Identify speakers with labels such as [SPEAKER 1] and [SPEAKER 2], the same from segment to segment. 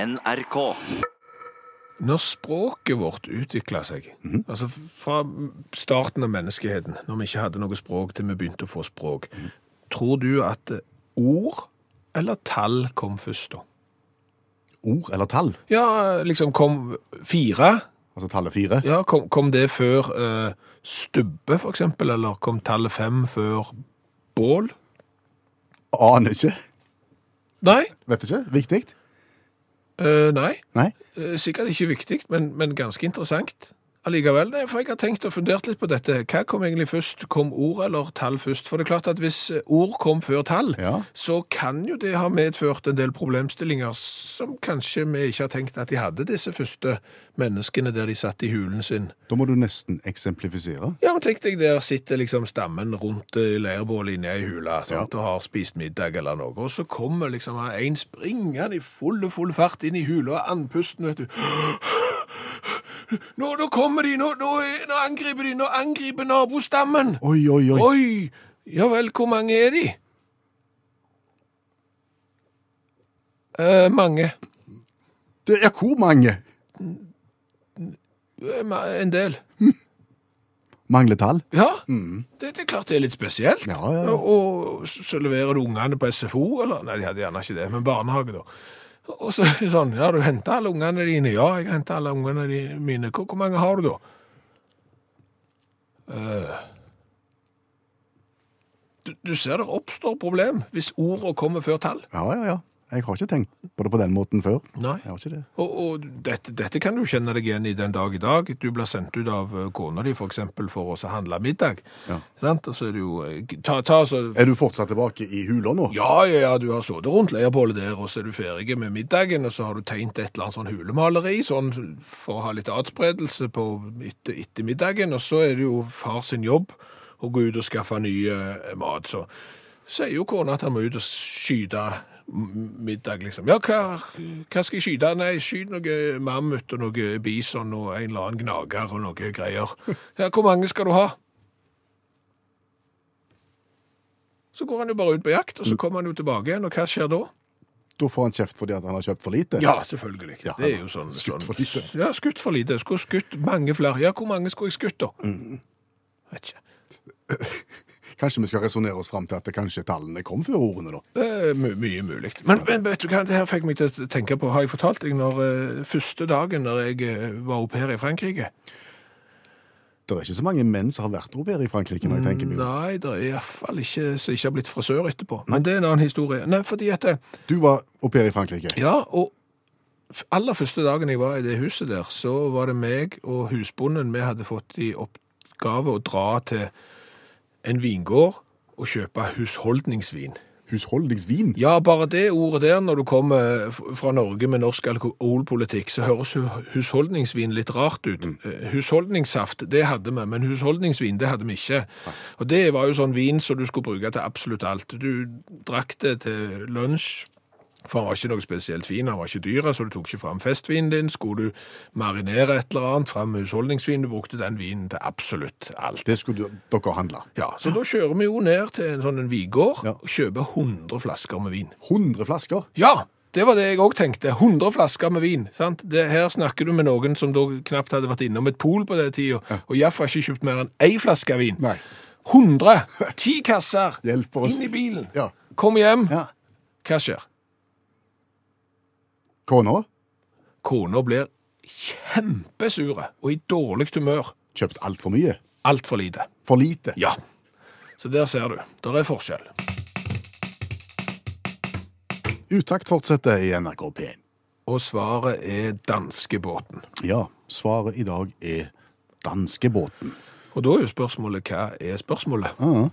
[SPEAKER 1] NRK.
[SPEAKER 2] Når språket vårt utvikla seg, altså fra starten av menneskeheten, når vi ikke hadde noe språk til vi begynte å få språk, tror du at eh, ord eller tall kom først da?
[SPEAKER 3] Ord eller tall?
[SPEAKER 2] Ja, liksom kom fire,
[SPEAKER 3] Altså tallet fire?
[SPEAKER 2] ja, kom, kom det før eh, stubbe for eksempel, eller kom tallet fem før bål?
[SPEAKER 3] Aner ikke.
[SPEAKER 2] Nei,
[SPEAKER 3] Vet ikke. Viktig?
[SPEAKER 2] eh, nei.
[SPEAKER 3] Nei?
[SPEAKER 2] Eh, Sikkert ikke viktig, men, men ganske interessant. Allikevel, nei, for jeg har tenkt og fundert litt på dette. Hva kom egentlig først? Kom ord eller tall først? For det er klart at hvis eh, ord kom før tall,
[SPEAKER 3] Ja.
[SPEAKER 2] så kan jo det ha medført en del problemstillinger som kanskje vi ikke har tenkt at de hadde, disse første menneskene der de satt i hulen sin.
[SPEAKER 3] Da må du nesten eksemplifisere.
[SPEAKER 2] Ja, men tenk deg, der sitter liksom stammen rundt eh, leirbålet inne i hula sant? og har spist middag eller noe, og så kommer liksom han en springende i full og full fart inn i hula og andpusten, vet du. Nå, nå kommer de, nå, nå, er- nå angriper de, nå angriper nabostammen.
[SPEAKER 3] Oi, oi, oi.
[SPEAKER 2] Oi, ja vel, hvor mange er de? Eh, mange.
[SPEAKER 3] Det er hvor mange?
[SPEAKER 2] Eh, ma- En del.
[SPEAKER 3] Mangler tall?
[SPEAKER 2] Ja, det, det er klart det er litt spesielt.
[SPEAKER 3] Mm. Ja, ja, ja.
[SPEAKER 2] Og, og så leverer du ungene på SFO, eller? Nei, de hadde gjerne ikke det, men barnehage da. Og så er det sånn, ja, du hentet alle ungene dine. Ja, jeg hentet alle ungene di- mine. Hvor, hvor mange har du da? Eh, du, du ser det oppstår problem hvis ordene kommer før tall.
[SPEAKER 3] Ja, ja, ja. Jeg har ikke tenkt på det på den måten før.
[SPEAKER 2] Nei.
[SPEAKER 3] Jeg har ikke det.
[SPEAKER 2] Og, og dette, dette kan du kjenne deg igjen i den dag i dag. Du blir sendt ut av eh, kona di for eksempel for å så handle middag.
[SPEAKER 3] Ja.
[SPEAKER 2] Sant? Og så er det jo, eh, ta, ta så
[SPEAKER 3] Er du fortsatt tilbake i hula nå?
[SPEAKER 2] Ja, ja, ja, du har sittet rundt leirbålet der, og så er du ferdig med middagen, og så har du tegnet et eller annet sånn hulemaleri, sånn for å ha litt adspredelse på etter, etter middagen, og så er det jo far sin jobb å gå ut og skaffe ny eh, mat. Så sier jo kona at han må ut og skyte m- middag, liksom. Ja, hva, hva skal jeg skyte? Nei, skyt noe mammut og noe bison og en eller annen gnager og noe greier. Ja, hvor mange skal du ha? Så går han jo bare ut på jakt, og så kommer han jo tilbake igjen, og hva skjer da?
[SPEAKER 3] Da får han kjeft fordi at han har kjøpt for lite?
[SPEAKER 2] Ja, selvfølgelig.
[SPEAKER 3] Ja,
[SPEAKER 2] det er jo sånn
[SPEAKER 3] skutt
[SPEAKER 2] sånn-
[SPEAKER 3] for lite.
[SPEAKER 2] Ja, skutt for lite. Skulle skutt mange flere. Ja, hvor mange skulle jeg skutt, da?
[SPEAKER 3] Mm.
[SPEAKER 2] Vet ikke.
[SPEAKER 3] Kanskje vi skal resonnere oss fram til at det kanskje tallene kom før ordene, da?
[SPEAKER 2] Eh, my mye mulig. Men, men vet du hva, det her fikk meg til å tenke på, har jeg fortalt deg, når eh, første dagen når jeg eh, var au pair i Frankrike
[SPEAKER 3] Det er ikke så mange menn som har vært au pair i Frankrike. når jeg tenker meg. om.
[SPEAKER 2] Nei, det er iallfall ikke som ikke har blitt frisør etterpå. Men det er en annen historie. Nei, fordi at eh,
[SPEAKER 3] Du var au pair i Frankrike.
[SPEAKER 2] Ja, og f- aller første dagen jeg var i det huset der, så var det meg og husbonden vi hadde fått i oppgave å dra til en vingård og kjøpe husholdningsvin.
[SPEAKER 3] Husholdningsvin?
[SPEAKER 2] Ja, bare det ordet der, når du kommer f- fra Norge med norsk alkoholpolitikk, så høres hu- husholdningsvin litt rart ut. Eh, Husholdningssaft, det hadde vi, men husholdningsvin, det hadde vi ikke. Og det var jo sånn vin som du skulle bruke til absolutt alt. Du drakk det til lunsj, for han var ikke noe spesielt fin, han var ikke dyre, så du tok ikke fram festvinen din. Skulle du marinere et eller annet, fram med husholdningsvin, du brukte den vinen til absolutt alt.
[SPEAKER 3] Det skulle du- dere handle.
[SPEAKER 2] Ja, så da kjører vi jo ned til en sånn en vigård
[SPEAKER 3] Ja.
[SPEAKER 2] og kjøper 100 flasker med vin.
[SPEAKER 3] 100 flasker?
[SPEAKER 2] Ja, det var det jeg òg tenkte. 100 flasker med vin. sant? Det, her snakker du med noen som da knapt hadde vært innom et pol på den tida, og iallfall ikke kjøpt mer enn én flaske vin.
[SPEAKER 3] Nei.
[SPEAKER 2] 100! Ti kasser
[SPEAKER 3] Hjelp oss.
[SPEAKER 2] inn i bilen.
[SPEAKER 3] Ja.
[SPEAKER 2] Kom hjem.
[SPEAKER 3] ja.
[SPEAKER 2] Hva skjer?
[SPEAKER 3] Kona?
[SPEAKER 2] Kona blir kjempesure og i dårlig humør.
[SPEAKER 3] Kjøpt altfor mye?
[SPEAKER 2] Altfor lite.
[SPEAKER 3] For lite?
[SPEAKER 2] Ja. Så der ser du. Der er forskjell.
[SPEAKER 3] Utakt fortsetter i NRK P1.
[SPEAKER 2] Og svaret er danskebåten.
[SPEAKER 3] Ja, svaret i dag er danskebåten.
[SPEAKER 2] Og da er jo spørsmålet hva er spørsmålet?
[SPEAKER 3] Ja.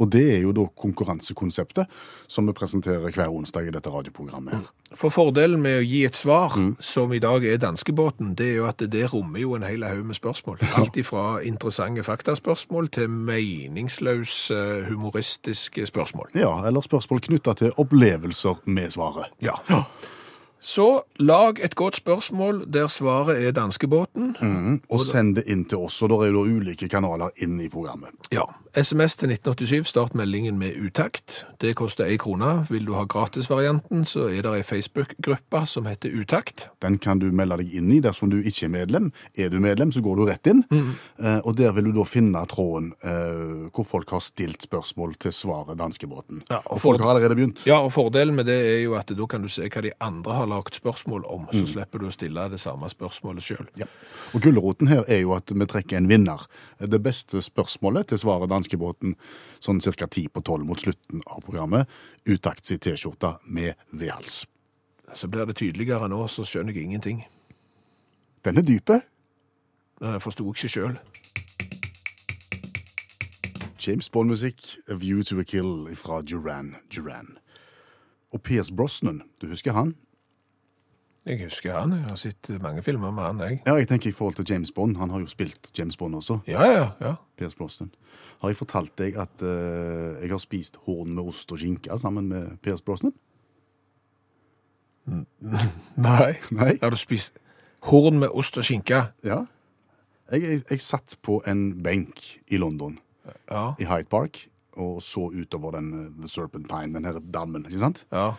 [SPEAKER 3] Og det er jo da konkurransekonseptet som vi presenterer hver onsdag i dette radioprogrammet. her.
[SPEAKER 2] For fordelen med å gi et svar, som i dag er danskebåten, det er jo at det rommer jo en hel haug med spørsmål. Alt ifra interessante faktaspørsmål til meningsløse, humoristiske spørsmål.
[SPEAKER 3] Ja, eller spørsmål knytta til opplevelser med svaret.
[SPEAKER 2] Ja. Så lag et godt spørsmål der svaret er danskebåten.
[SPEAKER 3] Og send det inn til oss, og da er det da ulike kanaler inn i programmet.
[SPEAKER 2] Ja. SMS til 1987, start meldingen med utakt. Det koster ei krone. Vil du ha gratisvarianten, så er det ei Facebook-gruppe som heter Utakt.
[SPEAKER 3] Den kan du melde deg inn i dersom du ikke er medlem. Er du medlem, så går du rett inn.
[SPEAKER 2] Mm.
[SPEAKER 3] Eh, og der vil du da finne tråden eh, hvor folk har stilt spørsmål til svaret danskebåten.
[SPEAKER 2] Ja, og
[SPEAKER 3] og folk
[SPEAKER 2] for-
[SPEAKER 3] har allerede begynt.
[SPEAKER 2] Ja, og fordelen med det er jo at da kan du se hva de andre har lagt spørsmål om,
[SPEAKER 3] Mm.
[SPEAKER 2] så slipper du å stille det samme spørsmålet sjøl.
[SPEAKER 3] Ja. Og gulroten her er jo at vi trekker en vinner. Det beste spørsmålet til svaret danskebåten sånn ca. ti på tolv mot slutten av programmet, utakt si T-skjorte med V-hals.
[SPEAKER 2] Så blir det tydeligere nå, så skjønner jeg ingenting.
[SPEAKER 3] Den er dype.
[SPEAKER 2] Det forsto jeg ikke sjøl.
[SPEAKER 3] James Bond-musikk, A View to a Kill fra Duran Duran. Og P.S. Brosnan, du husker han?
[SPEAKER 2] Jeg husker han, jeg har sett mange filmer med han, jeg.
[SPEAKER 3] Ja, jeg tenker i forhold til James Bond. Han har jo spilt James Bond også.
[SPEAKER 2] Ja, ja, ja.
[SPEAKER 3] P.S. Brosnan. Har jeg fortalt deg at eh, jeg har spist horn med ost og skinke sammen med P.S. Brosnan?
[SPEAKER 2] Nei.
[SPEAKER 3] Nei?
[SPEAKER 2] Har du spist horn med ost og skinke?
[SPEAKER 3] Ja. Jeg, jeg, jeg satt på en benk i London,
[SPEAKER 2] Ja.
[SPEAKER 3] i Hyde Park, og så utover den eh, The Serpentine, den her dammen, ikke sant?
[SPEAKER 2] ja.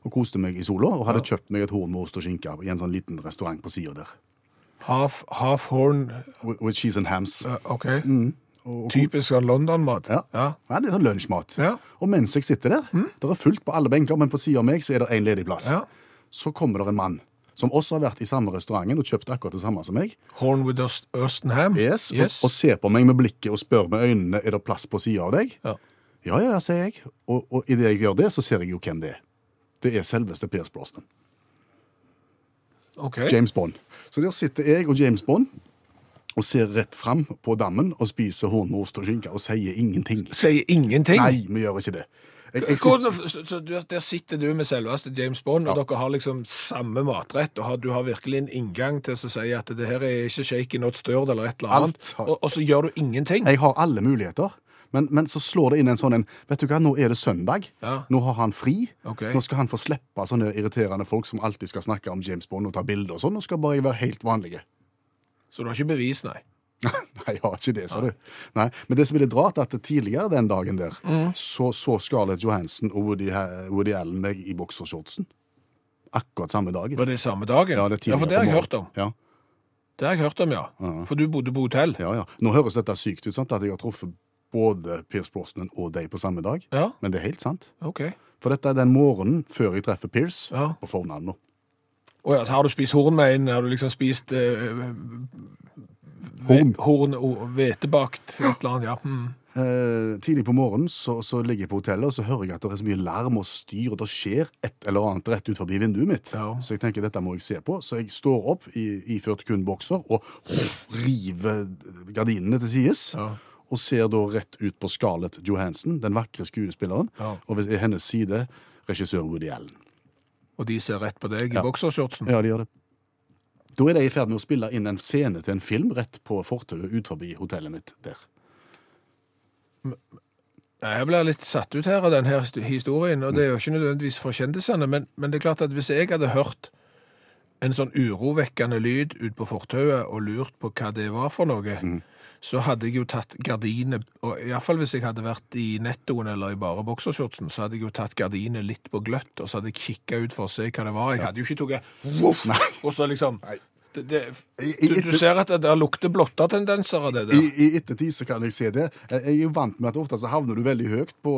[SPEAKER 3] Og koste meg i sola, og hadde kjøpt meg et horn med ost og skinke i en sånn liten restaurant på sida der.
[SPEAKER 2] Half, half horn
[SPEAKER 3] With, with cheese and hams. Mm.
[SPEAKER 2] eh, OK.
[SPEAKER 3] Og, og,
[SPEAKER 2] Typisk sånn London-mat.
[SPEAKER 3] Ja.
[SPEAKER 2] ja.
[SPEAKER 3] ja, det er sånn lunsjmat.
[SPEAKER 2] Ja. Mm.
[SPEAKER 3] Og mens jeg sitter der, det er fullt på alle benker, men på sida av meg så er det én ledig plass.
[SPEAKER 2] Ja.
[SPEAKER 3] Så kommer det en mann som også har vært i samme restauranten og kjøpt akkurat det samme som meg.
[SPEAKER 2] Horn with Ust- Urstenham?
[SPEAKER 3] Yes,
[SPEAKER 2] yes.
[SPEAKER 3] Og, og ser på meg med blikket og spør med øynene er det plass på sida av deg.
[SPEAKER 2] Ja.
[SPEAKER 3] Ja, ja, ja, sier jeg. Og, og idet jeg gjør det, så ser jeg jo hvem det er. Det er selveste Pierce Brosnan.
[SPEAKER 2] OK.
[SPEAKER 3] James Bond. Så der sitter jeg og James Bond og ser rett fram på dammen og spiser hornost og skinke og sier ingenting.
[SPEAKER 2] Sier ingenting?
[SPEAKER 3] Nei, vi gjør ikke det. Jeg, jeg sitter,
[SPEAKER 2] Hvordan, så, så du, der sitter du med selveste James Bond, og dere har liksom samme matrett, og har, du har virkelig en inngang til å si at det her er ikke shaken not stirred eller et eller
[SPEAKER 3] Alt
[SPEAKER 2] annet,
[SPEAKER 3] har-
[SPEAKER 2] og, og så gjør du ingenting.
[SPEAKER 3] jeg har alle muligheter. Men, men så slår det inn en sånn en Vet du hva, nå er det søndag.
[SPEAKER 2] Ja.
[SPEAKER 3] Nå har han fri.
[SPEAKER 2] Ok.
[SPEAKER 3] Nå skal han få slippe sånne irriterende folk som alltid skal snakke om James Bond og ta bilder og sånn. Nå skal bare jeg være helt vanlige.
[SPEAKER 2] Så du har ikke bevis, nei.
[SPEAKER 3] Nei, jeg har ikke det, sa du. Nei, Men det som er litt rart, er at tidligere den dagen der,
[SPEAKER 2] Mm.
[SPEAKER 3] så, så Scarlett Johansen og Woody, Ha- Woody Allen meg i boksershortsen. Akkurat samme dagen.
[SPEAKER 2] Var det samme dagen?
[SPEAKER 3] Ja, det er tidligere
[SPEAKER 2] for det har
[SPEAKER 3] på
[SPEAKER 2] jeg hørt om.
[SPEAKER 3] morgenen. Ja,
[SPEAKER 2] Det har jeg hørt om, ja. For du bodde på hotell.
[SPEAKER 3] ja, ja. Nå høres dette sykt ut, sant, at jeg har truffet både Pierce Brosnan og deg på samme dag.
[SPEAKER 2] Ja,
[SPEAKER 3] Men det er helt sant.
[SPEAKER 2] ok.
[SPEAKER 3] For dette er den morgenen før jeg treffer Pierce
[SPEAKER 2] Ja.
[SPEAKER 3] på fornavnet.
[SPEAKER 2] Og ja, så har du spist horn med en, har du liksom spist eh,
[SPEAKER 3] Horn.
[SPEAKER 2] horn og vetebakt, et eller annet, ja. Mm.
[SPEAKER 3] Eh, tidlig på morgenen så, så ligger jeg på hotellet og så hører jeg at det er så mye larm og styr, og det skjer et eller annet rett ut forbi vinduet mitt.
[SPEAKER 2] Ja.
[SPEAKER 3] Så jeg tenker dette må jeg se på. Så jeg står opp i, iført kun bokser og river gardinene til sides.
[SPEAKER 2] Ja.
[SPEAKER 3] Og ser da rett ut på Scarlett Johansen, den vakre skuespilleren,
[SPEAKER 2] Ja.
[SPEAKER 3] og ved hennes side regissør Woody Allen.
[SPEAKER 2] Og de ser rett på deg i
[SPEAKER 3] Ja.
[SPEAKER 2] boksershortsen.
[SPEAKER 3] Ja, de gjør det. Da er de i ferd med å spille inn en scene til en film rett på fortauet ut forbi hotellet mitt der.
[SPEAKER 2] Nei, Jeg blir litt satt ut her av denne historien, og det er jo ikke nødvendigvis for kjendisene, men, men det er klart at hvis jeg hadde hørt en sånn urovekkende lyd ut på fortauet og lurt på hva det var for noe,
[SPEAKER 3] Mm.
[SPEAKER 2] så hadde jeg jo tatt gardinet, og i hvert fall hvis jeg hadde vært i nettoen eller i bare boksershortsen, så hadde jeg jo tatt gardinet litt på gløtt, og så hadde jeg kikket ut for å se hva det var. Jeg hadde jo ikke tatt voff, og så liksom... Det, det,
[SPEAKER 3] I- i-
[SPEAKER 2] du, du ser at det der lukter blotta tendenser av det der.
[SPEAKER 3] I, I ettertid så kan jeg se det. Jeg er jo vant med at ofte så havner du veldig høyt på,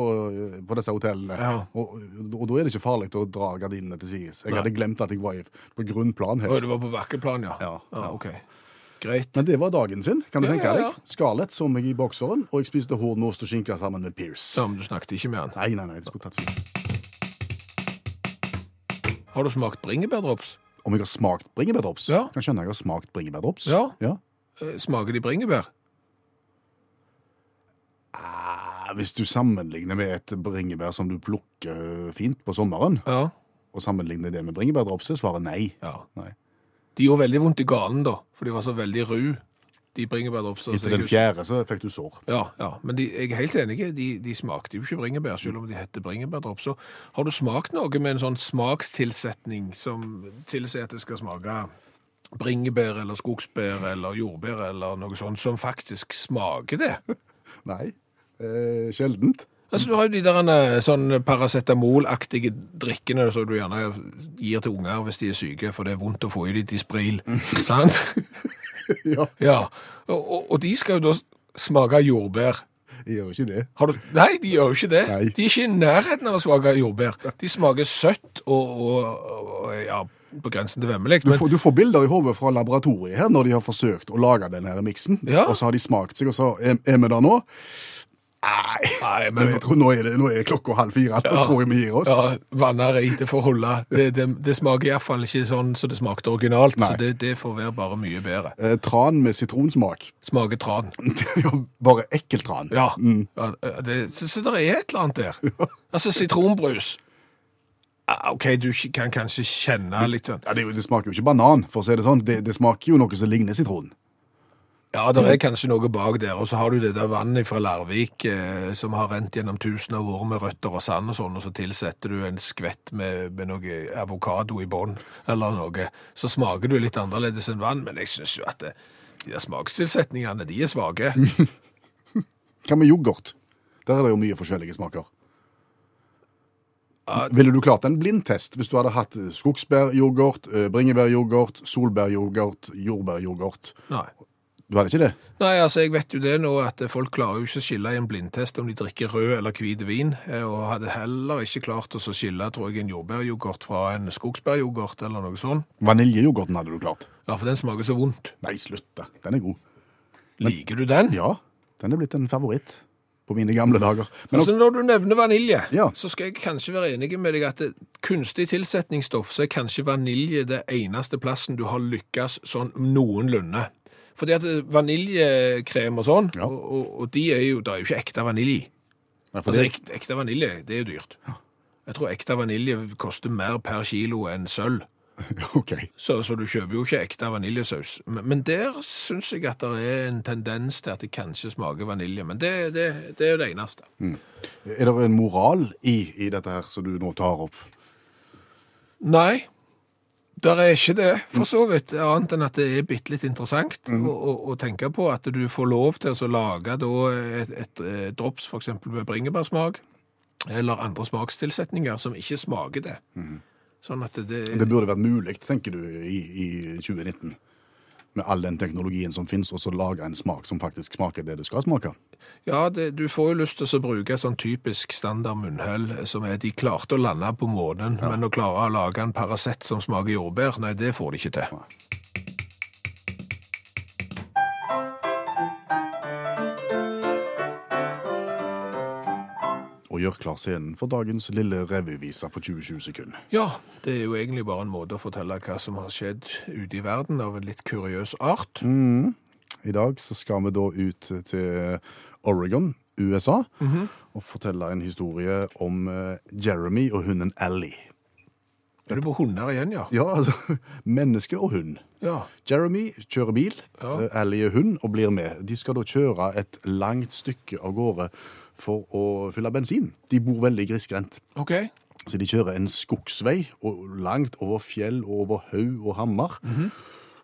[SPEAKER 3] på disse hotellene.
[SPEAKER 2] Ja.
[SPEAKER 3] Og, og da er det ikke farlig å dra gardinene til sides. Jeg hadde glemt at jeg var i, på
[SPEAKER 2] Å,
[SPEAKER 3] grunnplan her.
[SPEAKER 2] det var på bakkeplan, ja.
[SPEAKER 3] Ja, ja.
[SPEAKER 2] ok. Greit.
[SPEAKER 3] Men det var dagen sin, kan du
[SPEAKER 2] Ja,
[SPEAKER 3] tenke
[SPEAKER 2] ja, ja.
[SPEAKER 3] deg. Scarlett så meg i bokseren, og jeg spiste hård med ost og skinke sammen med Pierce.
[SPEAKER 2] Sam, du snakket ikke med han.
[SPEAKER 3] Nei, nei, nei, det skulle tatt seg.
[SPEAKER 2] Har du smakt bringebærdrops?
[SPEAKER 3] Om jeg har smakt bringebærdrops?
[SPEAKER 2] Ja.
[SPEAKER 3] Kan skjønne jeg har smakt bringebærdrops.
[SPEAKER 2] Ja.
[SPEAKER 3] ja.
[SPEAKER 2] Eh, Smaker de bringebær?
[SPEAKER 3] Ah, Hvis du sammenligner med et bringebær som du plukker fint på sommeren,
[SPEAKER 2] Ja.
[SPEAKER 3] og sammenligner det med bringebærdrops, så er svaret nei.
[SPEAKER 2] ja.
[SPEAKER 3] Nei.
[SPEAKER 2] De gjorde veldig vondt i ganen, da, for de var så veldig ru, de bringebærdropsene.
[SPEAKER 3] Etter den
[SPEAKER 2] ja,
[SPEAKER 3] fjerde så fikk du sår.
[SPEAKER 2] ja, men de, jeg er helt enig, de, de smakte jo ikke bringebær, selv om de hette bringebærdrops. Så har du smakt noe med en sånn smakstilsetning som tilsier at det skal smake bringebær eller skogsbær eller jordbær eller noe sånt som faktisk smaker det?
[SPEAKER 3] Nei. Eh, sjeldent.
[SPEAKER 2] Altså, du har jo de der eh, sånn paracetamolaktige drikkene som du gjerne gir til unger hvis de er syke, for det er vondt å få i dem til spril.
[SPEAKER 3] Mm.
[SPEAKER 2] Sant?
[SPEAKER 3] ja,
[SPEAKER 2] Ja. Og, og, og de skal jo da smake jordbær.
[SPEAKER 3] jeg gjør ikke det.
[SPEAKER 2] Har du... Nei, de gjør jo ikke det.
[SPEAKER 3] Nei.
[SPEAKER 2] De er ikke i nærheten av å smake jordbær. De smaker søtt og, og, og ja, på grensen til vemmelig.
[SPEAKER 3] Du får, du får bilder i hodet fra laboratoriet her når de har forsøkt å lage den her miksen.
[SPEAKER 2] Ja.
[SPEAKER 3] Og så har de smakt seg, og så er, er vi der nå. Nei,
[SPEAKER 2] Nei, men-
[SPEAKER 3] men jeg tror nå er, det, nå er klokka halv fire. Nå tror jeg vi gir oss.
[SPEAKER 2] Ja, vanner i det får holde. Det, det, det smaker iallfall ikke sånn som det smakte originalt,
[SPEAKER 3] Nei.
[SPEAKER 2] så det, det får være bare mye bedre.
[SPEAKER 3] Eh, tran med sitronsmak.
[SPEAKER 2] Smaker tran.
[SPEAKER 3] Det er jo bare ekkel tran.
[SPEAKER 2] Ja. ja eh, det, så, så det er et eller annet der. Altså, sitronbrus. Ah, OK, du kan kanskje kjenne litt sånn
[SPEAKER 3] Ja, det, er jo- det smaker jo ikke banan, for å si det sånn. Det, det smaker jo noe som ligner sitron.
[SPEAKER 2] Ja, det er kanskje noe bak der. Og så har du det der vannet fra Larvik eh, som har rent gjennom tusen av år med røtter og sand og sånn, og så tilsetter du en skvett med, med noe avokado i bånn eller noe. Så smaker du litt annerledes enn vann, men jeg syns jo at det, de der smakstilsetningene, de er svake.
[SPEAKER 3] Hva med yoghurt? Der er det jo mye forskjellige smaker.
[SPEAKER 2] Ja.
[SPEAKER 3] Ville du klart en blindtest hvis du hadde hatt eh, skogsbæryoghurt, eh, bringebæryoghurt, solbæryoghurt, jordbæryoghurt?
[SPEAKER 2] Nei.
[SPEAKER 3] Du hadde ikke det?
[SPEAKER 2] Nei, altså jeg vet jo det nå at folk klarer jo ikke å skille i en blindtest om de drikker rød eller hvit vin, eh, og hadde heller ikke klart å så skille, tror jeg, en jordbæryoghurt fra en skogsbæryoghurt eller noe sånt.
[SPEAKER 3] Vaniljeyoghurten hadde du klart.
[SPEAKER 2] Ja, for den smaker så vondt.
[SPEAKER 3] Nei, slutt da. Den er god.
[SPEAKER 2] Liker du den?
[SPEAKER 3] Ja, den er blitt en favoritt på mine gamle dager. Men
[SPEAKER 2] altså, når du nevner vanilje,
[SPEAKER 3] Ja.
[SPEAKER 2] så skal jeg kanskje være enig med deg at det, kunstig tilsetningsstoff, så er kanskje vanilje det eneste plassen du har lykkes sånn noenlunde. Fordi at eh, vaniljekrem og sånn,
[SPEAKER 3] Ja.
[SPEAKER 2] og, og, og de er jo, det er jo ikke ekte vanilje i.
[SPEAKER 3] Nei, for
[SPEAKER 2] Altså,
[SPEAKER 3] det,
[SPEAKER 2] ekte, ekte vanilje, det er jo dyrt. Jeg tror ekte vanilje koster mer per kilo enn sølv.
[SPEAKER 3] ok.
[SPEAKER 2] Så, så du kjøper jo ikke ekte vaniljesaus. Men, men der syns jeg at det er en tendens til at det kanskje smaker vanilje. Men det, det, det er jo det eneste.
[SPEAKER 3] Er det en moral i, i dette her som du nå tar opp?
[SPEAKER 2] Nei, der er ikke det, for så vidt. Annet enn at det er bitte litt interessant å, å, å tenke på at du får lov til å så lage da et, et, eh, drops f.eks. med bringebærsmak, eller andre smakstilsetninger som ikke smaker det. Sånn at det,
[SPEAKER 3] Det burde vært mulig, tenker du, i, i 2019. Med all den teknologien som finnes, og så lage en smak som faktisk smaker det det skal smake.
[SPEAKER 2] Ja, det, du får jo lyst til å så bruke et sånn typisk standard munnhell, som er de klarte å lande på månen, men å klare å lage en Paracet som smaker jordbær, nei, det får de ikke til.
[SPEAKER 3] Og gjør klar scenen for dagens lille revyvise på 20-20 sekunder.
[SPEAKER 2] Ja, det er jo egentlig bare en måte å fortelle hva som har skjedd ute i verden av en litt kuriøs art.
[SPEAKER 3] I dag så skal vi da ut til Oregon, USA, og fortelle en historie om eh, Jeremy og hunden Ally.
[SPEAKER 2] Er du på hunder igjen, ja?
[SPEAKER 3] Ja, altså, menneske og hund.
[SPEAKER 2] Ja.
[SPEAKER 3] Jeremy kjører bil,
[SPEAKER 2] Ja.
[SPEAKER 3] eh, Ally er hund og blir med. De skal da kjøre et langt stykke av gårde for å fylle bensin. De bor veldig grisgrendt.
[SPEAKER 2] Ok.
[SPEAKER 3] Så de kjører en skogsvei og langt over fjell og over haug og hammer.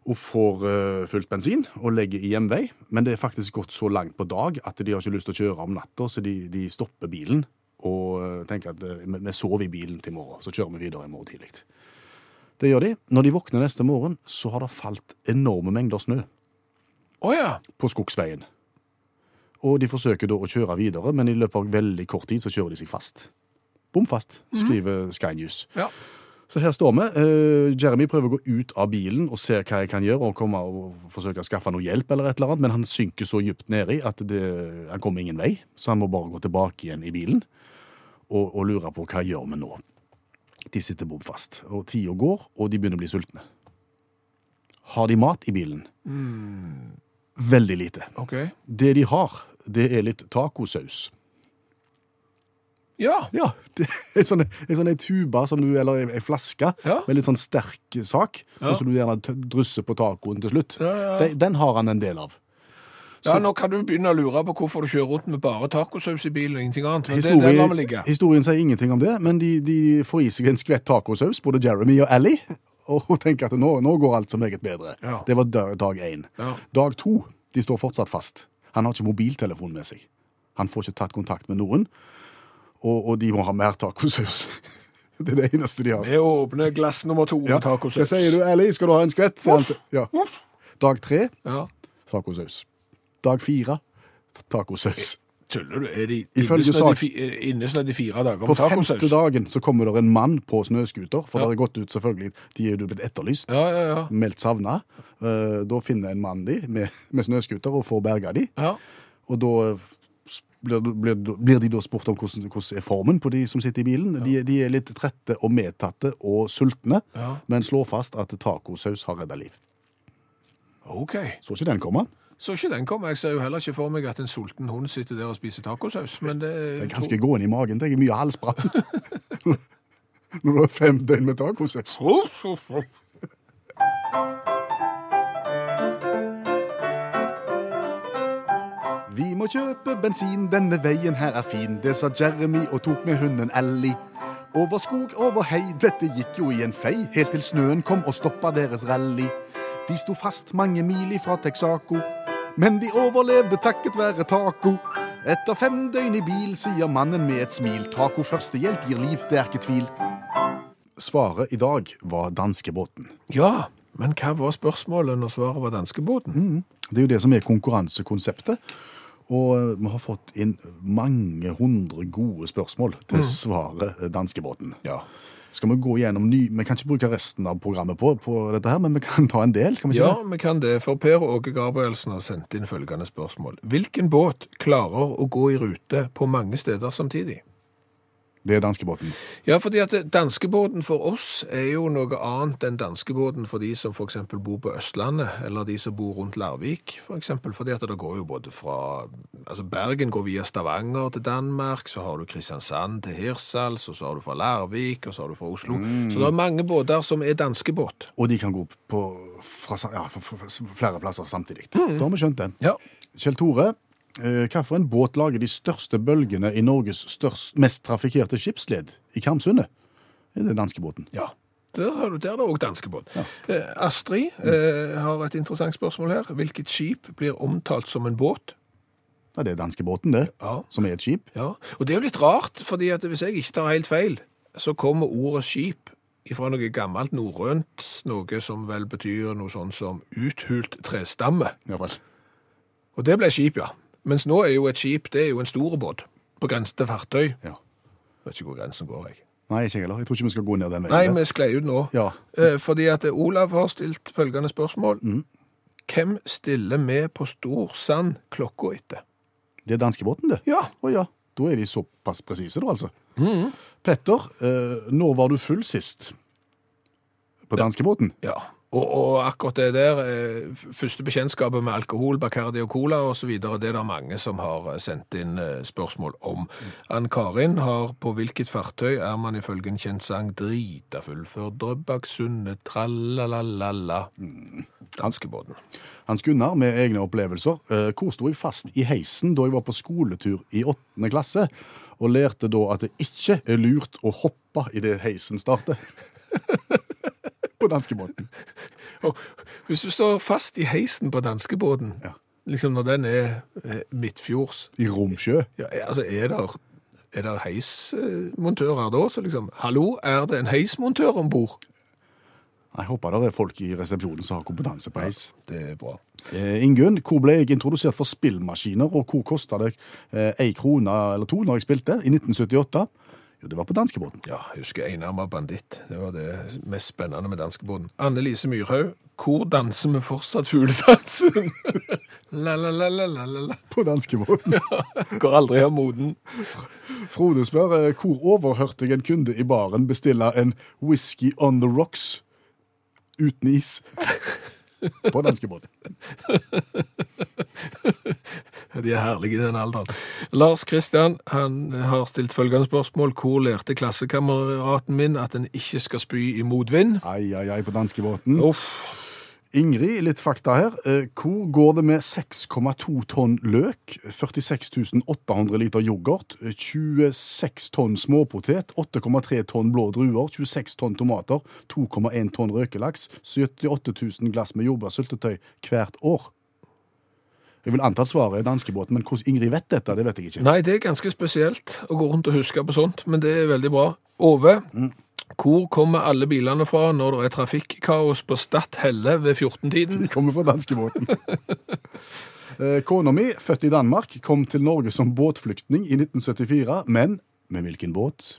[SPEAKER 3] Og får eh, fylt bensin og legger i hjemvei. Men det er faktisk gått så langt på dag at de har ikke lyst til å kjøre om natta, så de, de stopper bilen og eh, tenker at eh, vi- vi sover i bilen til i morgen. Så kjører vi videre i morgen tidlig. Det gjør de. Når de våkner neste morgen, så har det falt enorme mengder snø
[SPEAKER 2] Å ja.
[SPEAKER 3] på skogsveien. Og de forsøker da å kjøre videre, men i løpet av veldig kort tid så kjører de seg fast. Bom fast, skriver Sky News.
[SPEAKER 2] Ja.
[SPEAKER 3] Så her står vi. Eh, Jeremy prøver å gå ut av bilen og se hva jeg kan gjøre, og komme og forsøke å skaffe noe hjelp, eller et eller annet, men han synker så dypt nedi at det, han kommer ingen vei, så han må bare gå tilbake igjen i bilen og, og lure på hva gjør vi nå. De sitter bom fast, og tida går, og de begynner å bli sultne. Har de mat i bilen? Veldig lite.
[SPEAKER 2] Ok.
[SPEAKER 3] Det de har, det er litt tacosaus.
[SPEAKER 2] Ja.
[SPEAKER 3] Ja, det er sånn, en sånn en tuba som du, eller en- en flaske
[SPEAKER 2] Ja.
[SPEAKER 3] med litt sånn sterk sak,
[SPEAKER 2] Ja.
[SPEAKER 3] og så du gjerne tø- drysser på tacoen til slutt.
[SPEAKER 2] Ja, ja.
[SPEAKER 3] Den, den har han en del av.
[SPEAKER 2] Ja, nå kan du begynne å lure på hvorfor du kjører rundt med bare tacosaus i bilen og ingenting annet. Men det, det lar vi ligge.
[SPEAKER 3] historien sier ingenting om det, men de, de får i seg en skvett tacosaus, både Jeremy og Ally, og tenker at nå, nå går alt så meget bedre.
[SPEAKER 2] Ja.
[SPEAKER 3] Det var da- dag én.
[SPEAKER 2] Ja.
[SPEAKER 3] Dag to, de står fortsatt fast. Han har ikke mobiltelefon med seg. Han får ikke tatt kontakt med noen. Og, og de må ha mer tacosaus. Det er det eneste de har.
[SPEAKER 2] Vi åpner glass nummer to med
[SPEAKER 3] Hva
[SPEAKER 2] tacosaus.
[SPEAKER 3] sier du, Ellie? Skal du ha en skvett? sier han til- Ja. Dag tre
[SPEAKER 2] Ja.
[SPEAKER 3] tacosaus. Dag fire tacosaus.
[SPEAKER 2] Tuller du? Er de
[SPEAKER 3] Ifølge
[SPEAKER 2] innesnødd
[SPEAKER 3] sak-
[SPEAKER 2] i fi- er innesnødd i fire dager
[SPEAKER 3] På
[SPEAKER 2] med
[SPEAKER 3] femte
[SPEAKER 2] tacosaus?
[SPEAKER 3] dagen så kommer det en mann på snøskuter, for
[SPEAKER 2] Ja.
[SPEAKER 3] det har gått ut selvfølgelig, de er jo blitt etterlyst,
[SPEAKER 2] Ja, ja, ja.
[SPEAKER 3] meldt savna. Eh, Da finner en mann de med, med snøskuter og får berga de.
[SPEAKER 2] ja.
[SPEAKER 3] Og da eh, s- blir, blir, blir de da spurt om hvordan, hvordan er formen på de som sitter i bilen. De, de er litt trette og medtatte og sultne,
[SPEAKER 2] Ja.
[SPEAKER 3] men slår fast at tacosaus har redda liv.
[SPEAKER 2] OK.
[SPEAKER 3] Så ikke den komme.
[SPEAKER 2] Så ikke den komme. Jeg ser jo heller ikke for meg at en sulten hund sitter der og spiser tacosaus, men det
[SPEAKER 3] Det er ganske gående i magen. Det er mye halsbrann. Når du har fem døgn med tacosaus.
[SPEAKER 2] Uff, uff, uff.
[SPEAKER 3] Vi må kjøpe bensin, denne veien her er fin. Det sa Jeremy og tok med hunden Ellie. Over skog, over hei, dette gikk jo i en fei, helt til snøen kom og stoppa deres rally. De sto fast mange mil ifra Texaco, men de overlevde takket være taco. Etter fem døgn i bil sier mannen med et smil, taco førstehjelp gir liv, det er ikke tvil. Svaret i dag var danskebåten.
[SPEAKER 2] Ja, men hva var spørsmålet når svaret var danskebåten?
[SPEAKER 3] Mm. Det er jo det som er konkurransekonseptet. Og eh, vi har fått inn mange hundre gode spørsmål
[SPEAKER 2] Mm.
[SPEAKER 3] til svaret eh, danskebåten.
[SPEAKER 2] Ja.
[SPEAKER 3] Skal vi gå gjennom ny... Vi kan ikke bruke resten av programmet på, på dette her, men vi kan ta en del, kan vi ikke
[SPEAKER 2] Ja, vi kan det, for Per Åge Gabrielsen har sendt inn følgende spørsmål. Hvilken båt klarer å gå i rute på mange steder samtidig?
[SPEAKER 3] det? Det er danskebåten.
[SPEAKER 2] Ja, fordi at danskebåten for oss er jo noe annet enn danskebåten for de som f.eks. bor på Østlandet, eller de som bor rundt Larvik, f.eks. Fordi at det går jo både fra Altså, Bergen går via Stavanger til Danmark, så har du Kristiansand til Hirsals, og så har du fra Larvik, og så har du fra Oslo. Så det er mange båter som er danskebåt.
[SPEAKER 3] Og de kan gå på fra, sa- ja, fra- fra- fra flere plasser samtidig.
[SPEAKER 2] Mm.
[SPEAKER 3] Da har vi skjønt det.
[SPEAKER 2] Ja.
[SPEAKER 3] Kjell Tore, eh, hva for en båt lager de største bølgene i Norges størst, mest trafikkerte skipsled i Karmsundet? Det er danskebåten.
[SPEAKER 2] Ja. Der har du der er det òg danskebåt. Eh, Astrid eh, har et interessant spørsmål her. Hvilket skip blir omtalt som en båt?
[SPEAKER 3] Ja, det er danskebåten, det.
[SPEAKER 2] Ja.
[SPEAKER 3] Som er et skip.
[SPEAKER 2] Ja, og det er jo litt rart, fordi at hvis jeg ikke tar helt feil, så kommer ordet skip ifra noe gammelt norrønt, noe som vel betyr noe sånn som uthult trestamme.
[SPEAKER 3] I hvert fall.
[SPEAKER 2] Og det ble skip, ja. Mens nå er jo et skip, det er jo en stor båt, på grensen til fartøy.
[SPEAKER 3] Ja.
[SPEAKER 2] Jeg vet ikke hvor grensen går, jeg.
[SPEAKER 3] Nei, ikke jeg heller. Jeg tror ikke vi skal gå ned den veien.
[SPEAKER 2] Nei, vi sklei ut nå.
[SPEAKER 3] Ja.
[SPEAKER 2] Eh, Fordi at Olav har stilt følgende spørsmål. Hvem stiller med på Storsand klokka etter?
[SPEAKER 3] Det er danskebåten, det.
[SPEAKER 2] Ja, Mhm.
[SPEAKER 3] Å ja. Da er de såpass presise, da, altså. Petter, eh, når var du full sist? På danskebåten?
[SPEAKER 2] Ja, og, og akkurat det der, eh, f- første bekjentskapet med alkohol, Bacardi og cola og så videre, det er det mange som har eh, sendt inn eh, spørsmål om. Ann-Karin har på hvilket fartøy er man ifølge en kjent sang drita full før Drøbaksundet, tralalalala. Danskebåten.
[SPEAKER 3] Hans Gunnar med egne opplevelser. Eh, hvor sto jeg fast i heisen da jeg var på skoletur i åttende klasse, og lærte da at det ikke er lurt å hoppe idet heisen starter? på danskebåten.
[SPEAKER 2] Og hvis du står fast i heisen på danskebåten,
[SPEAKER 3] Ja.
[SPEAKER 2] liksom når den er eh, midtfjords,
[SPEAKER 3] I Romsjø.
[SPEAKER 2] ja, er- altså er der... Er det heismontører da? Så liksom, hallo, er det en heismontør ombord?
[SPEAKER 3] Jeg håper det er folk i resepsjonen som har kompetanse på heis.
[SPEAKER 2] Det er bra.
[SPEAKER 3] Eh, Ingunn, hvor ble jeg introdusert for spillmaskiner, og hvor kosta det eh, ei krone eller to når jeg spilte i 1978? Jo, det var på danskebåten.
[SPEAKER 2] Ja, jeg husker Einarma Banditt. Det var det mest spennende med danskebåten. Anne Lise Myrhaug, hvor danser vi fortsatt fugledansen? la, la, la, la, la, la, la.
[SPEAKER 3] På danskebåten.
[SPEAKER 2] Går aldri av moden.
[SPEAKER 3] Frode spør eh, hvor overhørte jeg en kunde i baren bestille en whisky on the rocks uten is? På danskebåten.
[SPEAKER 2] De er herlige i den alderen. Lars Kristian han har stilt følgende spørsmål. Hvor lærte klassekameraten min at en ikke skal spy i motvind?
[SPEAKER 3] Ai, ai, ai, på danskebåten.
[SPEAKER 2] Uff.
[SPEAKER 3] Ingrid, litt fakta her. Eh, Hvor går det med 6,2 tonn løk, 46 800 liter yoghurt, 26 tonn småpotet, 8,3 tonn blå druer, 26 tonn tomater, 2,1 tonn røkelaks, 78 000 glass med jordbærsyltetøy hvert år? Jeg vil anta at svaret er danskebåten, men hvordan Ingrid vet dette, det vet jeg ikke.
[SPEAKER 2] Nei, det er ganske spesielt å gå rundt og huske på sånt, men det er veldig bra. Ove, hvor kommer alle bilene fra når det er trafikkaos på Stadt Helle ved 14-tiden?
[SPEAKER 3] De kommer fra danskebåten. Eh, Kona mi, født i Danmark, kom til Norge som båtflyktning i 1974, men med hvilken båt?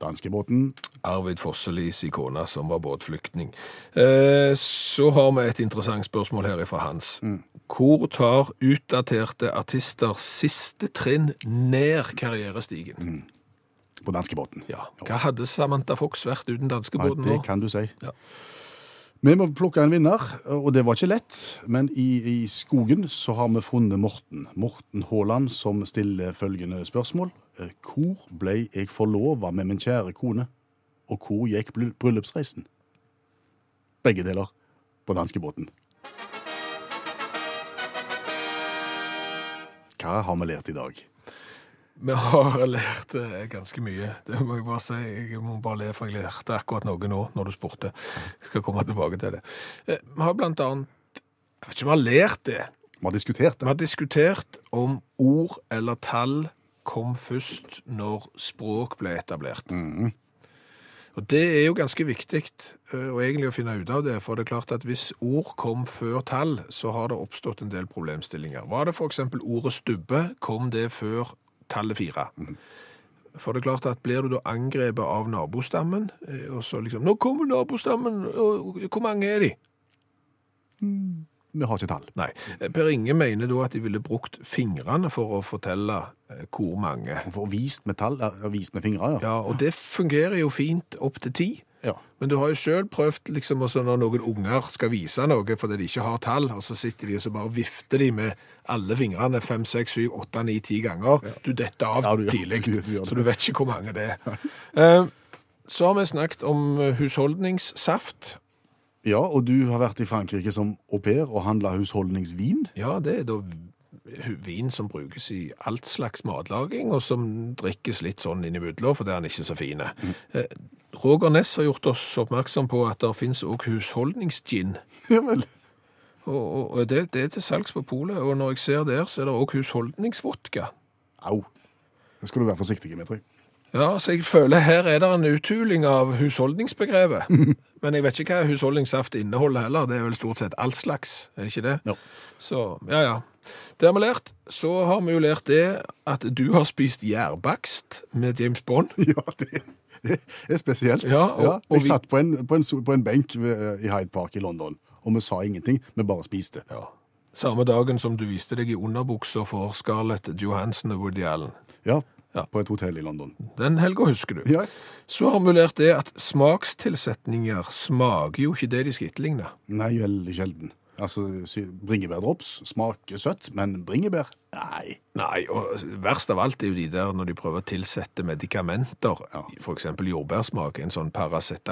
[SPEAKER 3] Danskebåten.
[SPEAKER 2] Arvid Fosselis ikona som var båtflyktning. Eh, så har vi et interessant spørsmål her fra Hans. Hvor tar utdaterte artister siste trinn ned karrierestigen?
[SPEAKER 3] På danskebåten.
[SPEAKER 2] Ja. Hva hadde Samantha Fox vært uten
[SPEAKER 3] Nei,
[SPEAKER 2] danskebåten
[SPEAKER 3] det
[SPEAKER 2] nå?
[SPEAKER 3] kan du si.
[SPEAKER 2] Ja.
[SPEAKER 3] Vi må plukke en vinner, og det var ikke lett. Men i, i skogen så har vi funnet Morten. Morten Haaland som stiller følgende spørsmål. Eh, Hvor ble jeg forlova med min kjære kone? Og hvor gikk bry- bryllupsreisen? Begge deler. På danskebåten. Hva har vi lært i dag?
[SPEAKER 2] Vi har lært eh, ganske mye. Det må jeg bare si. Jeg må bare le, for jeg lærte akkurat noe nå når du spurte. Jeg skal komme tilbake til det. Eh, Vi har blant annet Jeg vet ikke om vi har lært det.
[SPEAKER 3] Vi har
[SPEAKER 2] Vi
[SPEAKER 3] diskutert det.
[SPEAKER 2] har diskutert om ord eller tall kom først når språk ble etablert.
[SPEAKER 3] Mm.
[SPEAKER 2] Og det er jo ganske viktig eh, og egentlig å finne ut av det, for det er klart at hvis ord kom før tall, så har det oppstått en del problemstillinger. Var det for eksempel ordet stubbe, kom det før tallet fire?
[SPEAKER 3] Mm.
[SPEAKER 2] For det er klart at blir du da angrepet av nabostammen, eh, og så liksom, nå kommer nabostammen, og hvor mange er de?
[SPEAKER 3] Vi har ikke tall.
[SPEAKER 2] Nei. Eh, Per Inge mener da at de ville brukt fingrene for å fortelle eh, hvor mange.
[SPEAKER 3] Og får vist med tall, eh, vist med fingre, ja.
[SPEAKER 2] Ja, og det fungerer jo fint opp til ti.
[SPEAKER 3] ja.
[SPEAKER 2] Men du har jo sjøl prøvd liksom, også når noen unger skal vise noe fordi de ikke har tall, og så sitter de og så bare vifter de med alle fingrene fem, seks, syv, åtte, ni, ti ganger. Du detter av
[SPEAKER 3] Ja, du gjør-
[SPEAKER 2] tidlig,
[SPEAKER 3] du gjør- du gjør
[SPEAKER 2] så
[SPEAKER 3] det.
[SPEAKER 2] du vet ikke hvor mange det er. Eh, Så har vi snakket om eh, husholdningssaft.
[SPEAKER 3] Ja, og du har vært i Frankrike som au pair og handla husholdningsvin.
[SPEAKER 2] Ja, det er da v- vin som brukes i alt slags matlaging, og som drikkes litt sånn innimellom, for det er den ikke så fine. Eh, Roger Ness har gjort oss oppmerksom på at det finnes også husholdningsgin,
[SPEAKER 3] Ja vel.
[SPEAKER 2] og, og, og det, det er til salgs på polet, og når jeg ser der, så er det også husholdningsvodka.
[SPEAKER 3] Au. Det skal du være forsiktig med, tror jeg.
[SPEAKER 2] Ja, så jeg føler her er det en uthuling av husholdningsbegrepet. Men jeg vet ikke hva husholdningssaft inneholder heller. Det er vel stort sett all slags, er det ikke det?
[SPEAKER 3] Ja.
[SPEAKER 2] Så, ja, ja. Det har vi lært. Så har vi jo lært det at du har spist gjærbakst med James Bond.
[SPEAKER 3] Ja, det, det er spesielt.
[SPEAKER 2] Ja, og-
[SPEAKER 3] jeg
[SPEAKER 2] og vi-
[SPEAKER 3] satt på en, på en, so- på en benk ved, eh, i Hyde Park i London, og vi sa ingenting, vi bare spiste.
[SPEAKER 2] Ja. Samme dagen som du viste deg i underbukser for Scarlett Johansen og Woody Allen.
[SPEAKER 3] Ja,
[SPEAKER 2] Ja.
[SPEAKER 3] på et hotell i London.
[SPEAKER 2] Den helga husker du.
[SPEAKER 3] Ja,
[SPEAKER 2] Så har vi lært det at smakstilsetninger smaker jo ikke det de skal etterligne.
[SPEAKER 3] Nei, veldig sjelden. Altså, si- bringebærdrops smaker søtt, men bringebær? Nei.
[SPEAKER 2] Nei, og verst av alt er jo de der når de prøver å tilsette medikamenter,
[SPEAKER 3] Ja.
[SPEAKER 2] for eksempel jordbærsmak, en sånn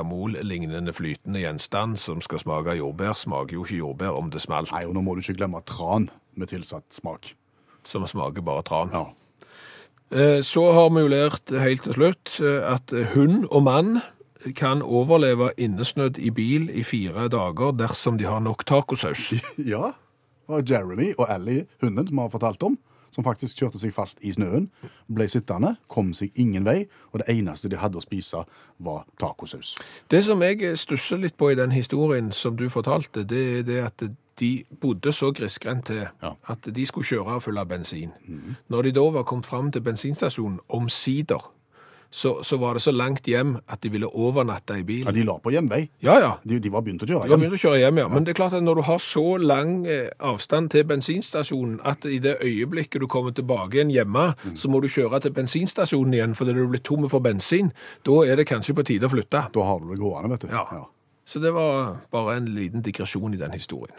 [SPEAKER 2] paracetamol-lignende flytende gjenstand som skal smake jordbær, smaker jo ikke jordbær om det smalt,
[SPEAKER 3] Nei, og nå må du ikke glemme tran med tilsatt smak.
[SPEAKER 2] som smaker bare tran.
[SPEAKER 3] Ja.
[SPEAKER 2] Eh, Så har vi jo lært helt til slutt eh, at hund og mann kan overleve innesnødd i bil i fire dager dersom de har nok tacosaus.
[SPEAKER 3] Ja. Og Jeremy og Ally, hunden som vi har fortalt om, som faktisk kjørte seg fast i snøen, ble sittende, kom seg ingen vei, og det eneste de hadde å spise, var tacosaus.
[SPEAKER 2] Det som jeg stusser litt på i den historien som du fortalte, det er det at de bodde så grisgrendt til
[SPEAKER 3] Ja. Mhm.
[SPEAKER 2] at de skulle kjøre og fylle av bensin. Når de da var kommet fram til bensinstasjonen, omsider, så, så var det så langt hjem at de ville overnatte i
[SPEAKER 3] Ja,
[SPEAKER 2] bilen.
[SPEAKER 3] de la på hjemvei.
[SPEAKER 2] Ja, ja.
[SPEAKER 3] De, de var begynt å kjøre
[SPEAKER 2] De har
[SPEAKER 3] hjem.
[SPEAKER 2] begynt å kjøre hjem, ja. Men det er klart at når du har så lang eh, avstand til bensinstasjonen at i det øyeblikket du kommer tilbake igjen hjemme, så må du kjøre til bensinstasjonen igjen fordi du er blitt tom for bensin, da er det kanskje på tide å flytte.
[SPEAKER 3] Da har du det gående, vet du.
[SPEAKER 2] Ja. Så det var bare en liten digresjon i den historien.